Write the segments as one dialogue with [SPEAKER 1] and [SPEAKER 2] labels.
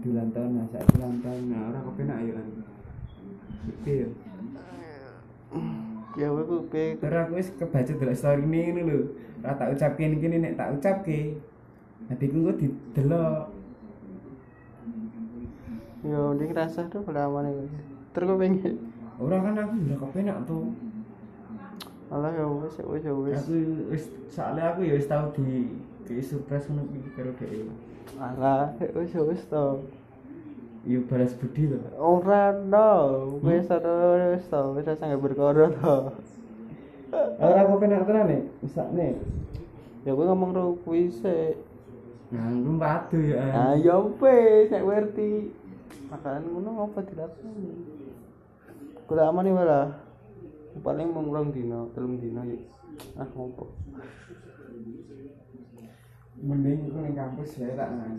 [SPEAKER 1] di ulang tahun masa di ulang tahun nah orang kepenak ya kan Gitu ya
[SPEAKER 2] ya aku pe
[SPEAKER 1] terus aku wis kebaca delok story ini ini lho ora tak ucapin gini nek tak ucapke hatiku kok didelok
[SPEAKER 2] yo ndek rasa tuh pelawan iki terus aku pengen
[SPEAKER 1] ora kan aku ora kepenak tuh
[SPEAKER 2] malah ya wis ya wis ya wis
[SPEAKER 1] aku wis soalnya aku ya wis tau di kayak surprise ngono iki karo dhek e.
[SPEAKER 2] malah ya wis ya wis to
[SPEAKER 1] yo balas budi lho
[SPEAKER 2] ora no wis ora wis to wis rasa nggak berkoro to
[SPEAKER 1] ora kepenak tenan nek misakne
[SPEAKER 2] ya gue ngomong ro kuwi sik
[SPEAKER 1] nah lu padu ya ah.
[SPEAKER 2] ayo wis nek ngerti makanan ngono ngopo dilakoni kula aman iki malah paling mung rong dino telung dino ya ah ngopo
[SPEAKER 1] mending aku ning kampus ya tak nang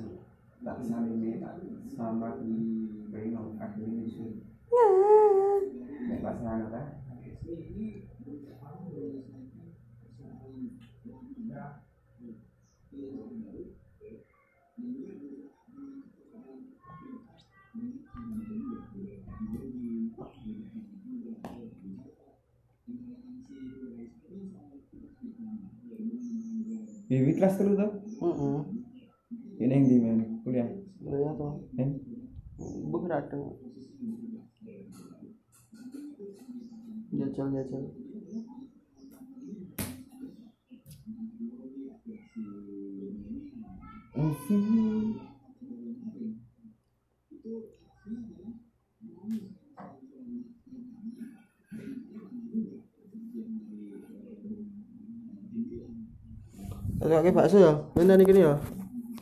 [SPEAKER 1] tak salimi tak selamat di Beno Akademi Mission nek pas nang ta Bibi kelas terus tuh,
[SPEAKER 2] heeh
[SPEAKER 1] ini yang di mana kuliah?
[SPEAKER 2] ya to
[SPEAKER 1] Eh,
[SPEAKER 2] mbuh radeng jajal jajal
[SPEAKER 1] Alfi.
[SPEAKER 2] Oke, oke bakso ya. Bener nih gini ya.